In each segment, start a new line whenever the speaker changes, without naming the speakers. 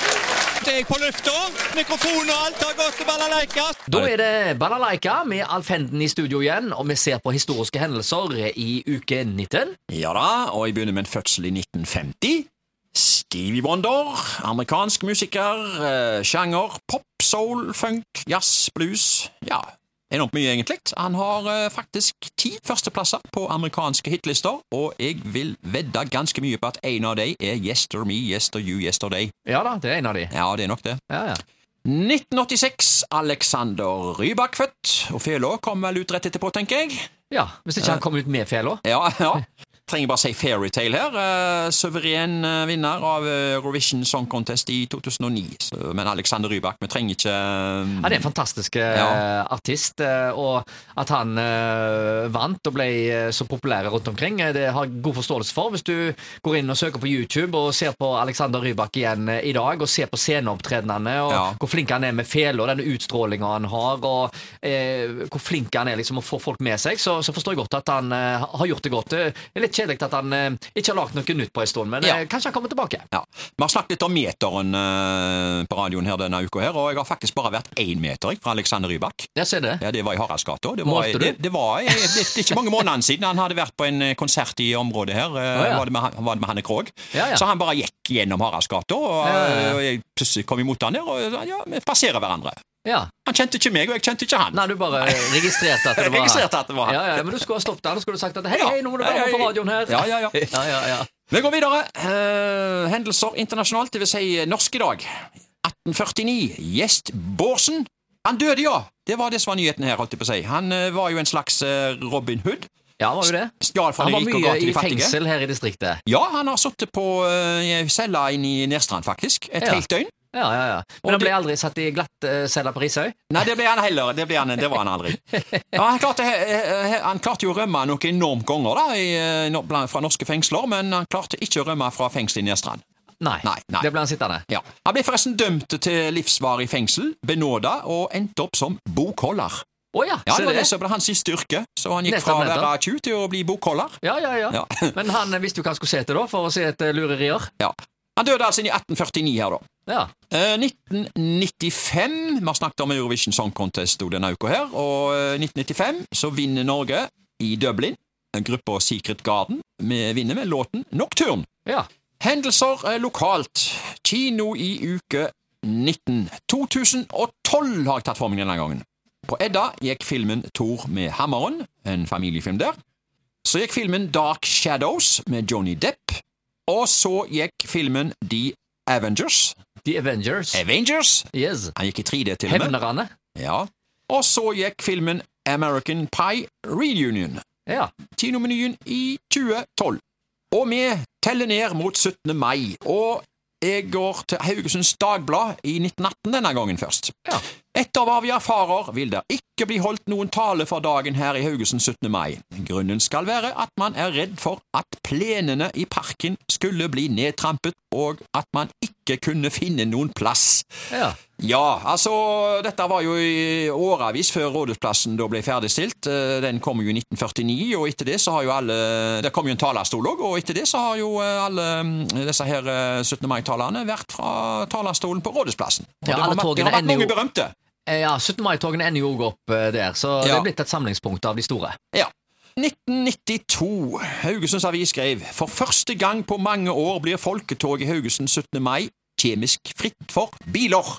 Først er jeg på lufta. Mikrofon og alt har gått til balalaika.
Da er det Balalaika med Alfenden i studio igjen, og vi ser på historiske hendelser i uke 19.
Ja da, og jeg begynner med en fødsel i 1950. Stevie Wonder, amerikansk musiker, eh, sjanger pop, soul, funk, jazz, blues. Ja, enormt mye egentlig. Han har eh, faktisk ti førsteplasser på amerikanske hitlister, og jeg vil vedde ganske mye på at en av dem er Yester Me, Yester You, Yesterday.
Ja da, det er en av de.
Ja, det er nok det.
Ja, ja.
1986, Alexander Rybak født, og fela kom vel ut rett etterpå, tenker jeg.
ja Hvis ikke han kom ut med fela.
Ja, ja. Trenger bare si fairytale her. Eh, suveren eh, vinner av eh, Eurovision Song Contest i 2009. Så, men Alexander Rybak, vi trenger ikke eh,
Han er en fantastisk eh,
Ja.
artist, eh, og at han eh, vant og ble eh, så populær rundt omkring, eh, det har jeg god forståelse for. Hvis du går inn og søker på YouTube og ser på Alexander Rybak igjen eh, i dag, og ser på sceneopptredenene, og
Ja.
hvor flink han er med fele, og den utstrålinga han har, og eh, hvor flink han er liksom å få folk med seg, så, så forstår jeg godt at han eh, har gjort det godt. Det er litt kjedelig at han eh, ikke har lagd noe nytt på en stund, men
Ja.
eh, kanskje han kommer tilbake.
ja. Vi har snakket litt om meteren eh, på radioen her denne uka, her, og jeg har faktisk bare vært én meter jeg, fra Alexander Rybak.
Jeg ser det.
Ja, Det var i Haraldsgata. Det var,
Målte du?
det, det var eh, det, det er ikke mange månedene siden han hadde vært på en eh, konsert i området her. eh,
Å, ja.
var, det med, han- var det med Hanne Krogh?
Ja, ja.
Så han bare gikk gjennom Haraldsgata, og,
ja, ja.
og jeg plutselig kom imot han der, og ja, vi passerer hverandre.
Ja.
Han kjente ikke meg, og jeg kjente ikke han.
Nei, du bare registrerte at det
Jeg
var
registrerte at det var han.
Ja, ja, men du skulle ha stoppet han, og skulle du sagt at hei,
Ja.
hei, nå må du være
Hei,
med på
hei.
radioen her.
Ja, ja, ja.
ja, ja, ja.
Vi går videre. Eh, hendelser internasjonalt, det vil si norsk i dag. 1849. Gjest Bårdsen. Han døde, ja! Det var det som var nyheten her. holdt jeg på å si. Han eh, var jo en slags eh, Robin Hood.
Ja, var jo det.
Stjal fra
Han
de
var
rike og
mye
ga til
i
de fattige.
fengsel her i distriktet.
Ja, han har sittet på uh, cella inne i Nerstrand, faktisk. Et
Ja.
helt døgn.
Ja, ja, ja.
Og
Men han
det-
ble aldri satt i eh, glattcella på Risøy?
Nei, det ble han heller. Det, ble han, det var han aldri. Ja, han, klarte, eh, eh, han klarte jo å rømme noen enormt ganger da, i, eh, no- blant- fra norske fengsler, men han klarte ikke å rømme fra fengselet i Nerstrand.
Nei.
Nei, nei.
Det ble han sittende.
Ja. Han ble forresten dømt til livsvarig fengsel, benåda, og endte opp som bokholder.
Å ja,
Ja,
se
det var
det.
det som ble hans siste yrke, så han gikk
Nettopp,
fra å være
nettopp.
tjuv til å bli bokholder.
Ja, ja, ja,
Ja.
Men han visste jo hva han skulle se etter, da, for å se etter lurerier.
Ja. Han døde altså i 1849 her, da.
Ja.
Eh, 1995 Vi har snakket om Eurovision Song Contest jo denne uka her, og eh, 1995 så vinner Norge i Dublin. Gruppa Secret Garden Vi vinner med låten Nocturne.
ja.
Hendelser eh, lokalt. Kino i uke 19. 2012 har jeg tatt for meg denne gangen. På Edda gikk filmen Thor med hammeren, en familiefilm der. Så gikk filmen Dark Shadows med Johnny Depp. Og så gikk filmen The Avengers.
The Avengers.
Avengers!
Yes.
Han gikk i 3D til og med.
Hevnerne.
Ja. Og så gikk filmen American Pie Reunion.
Ja.
Kinomenyen i 2012. Og vi teller ned mot 17. mai. Og jeg går til Haugesunds Dagblad i 1918 denne gangen først.
Ja.
Etter hva vi erfarer, vil det ikke bli holdt noen tale for dagen her i Haugesund 17. mai. Grunnen skal være at man er redd for at plenene i parken skulle bli nedtrampet, og at man ikke kunne finne noen plass.
ja.
Ja, altså Dette var jo i årevis før Rådhusplassen da ble ferdigstilt. Eh, Den kom jo i 1949, og etter det så har jo alle Det kom jo en talerstol òg, og etter det så har jo eh, alle mm, disse her eh, 17. mai-talerne vært fra talerstolen på Rådhusplassen. Og
Ja,
det, har
alle
vært, det
togene
har vært
ender jo-
mange berømte.
Eh, ja 17. mai-togene ender jo også opp eh, der, så det
Ja.
er blitt et samlingspunkt av de store.
Ja. 1992. Haugesunds Avis skrev For første gang på mange år blir folketog i Haugesund 17. mai kjemisk fritt for biler.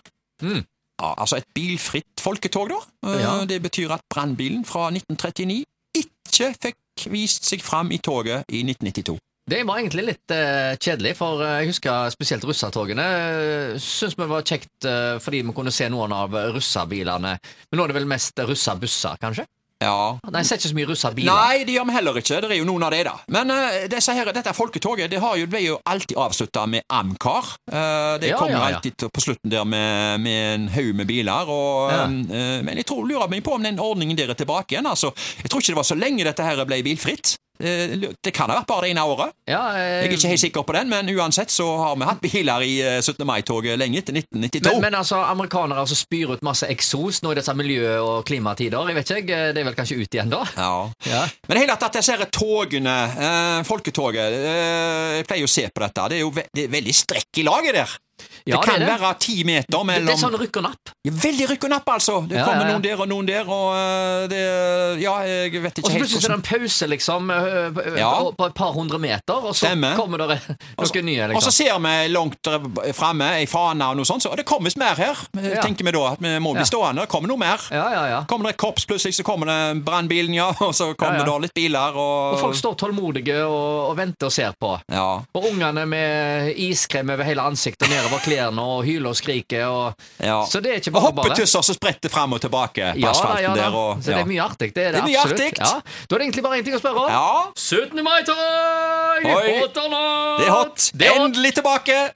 Mm.
Ja, altså et bilfritt folketog, da. Eh,
Ja.
Det betyr at brannbilen fra 1939 ikke fikk vist seg fram i toget i 1992.
Det var egentlig litt eh, kjedelig, for eh, jeg husker spesielt russertogene. Uh, Syns vi var kjekt eh, fordi vi kunne se noen av russerbilene. Men nå er det vel mest russerbusser, kanskje?
Ja.
Nei, jeg ser ikke så mye russerbiler.
Nei, det gjør vi heller ikke. Det er jo noen av de, da. Men eh, disse her, dette folketoget det har jo, ble jo alltid avslutta med Amcar. Eh, det
Ja,
kommer jo
ja, ja.
alltid til- på slutten der med, med en haug med biler. Og,
Ja.
eh, men jeg tror, lurer meg på om den ordningen der er tilbake igjen. Altså, jeg tror ikke det var så lenge dette her ble bilfritt. Eh, Det kan ha vært bare det ene året.
Ja, eh,
Jeg er ikke helt sikker på den, men uansett så har vi hatt biler i eh, 17. mai-toget lenge etter 1992.
men, men altså, amerikanere altså, spyr ut masse eksos nå i disse miljø- og klimatider. Jeg vet ikke, jeg, eh, det er vel kanskje ut igjen da?
ja.
Ja.
Men det hele tatt, disse her togene, eh, folketoget, eh, jeg pleier jo å se på dette, det er jo ve det er veldig strekk i laget der.
Ja,
det kan
det.
være ti meter
Det,
mellom
det er sånn rykk og napp.
Ja, Veldig rykk og napp, altså! Det
Ja,
kommer
ja, ja.
noen der og noen der, og eh, det Ja, jeg vet
Og
ikke
så
helt
plutselig så er det
hvordan
en pause, liksom, øh, øh,
Ja.
på- på et par hundre meter, og så
Stemmer.
kommer det noe nye,
Og så
liksom.
ser vi langt framme ei fane og noe sånt, så det kommer mer her,
Ja.
tenker vi da. At vi må bli
Ja.
stående. Det kommer noe mer.
Ja, ja, ja.
Kommer det et korps plutselig, så kommer det brannbilen, ja, og så kommer
Ja, ja.
det litt biler
Og
og,
folk står tålmodige og, og venter og ser på.
Ja.
Og ungene med iskrem over hele ansiktet og nedover klærne og hyler og skriker. Og...
ja.
Så det er ikke
Og
bare bare.
hoppetusser som spretter fram og tilbake på
Ja da,
asfalten
ja da.
der. Og,
Så det er mye artig. Det er det,
Det er mye
absolutt.
artig.
Ja. Da er det egentlig bare én ting å spørre om.
ja.
17. mai-tog!
Oi.
Hot or not?
Det er hot.
Det er hot.
Endelig tilbake!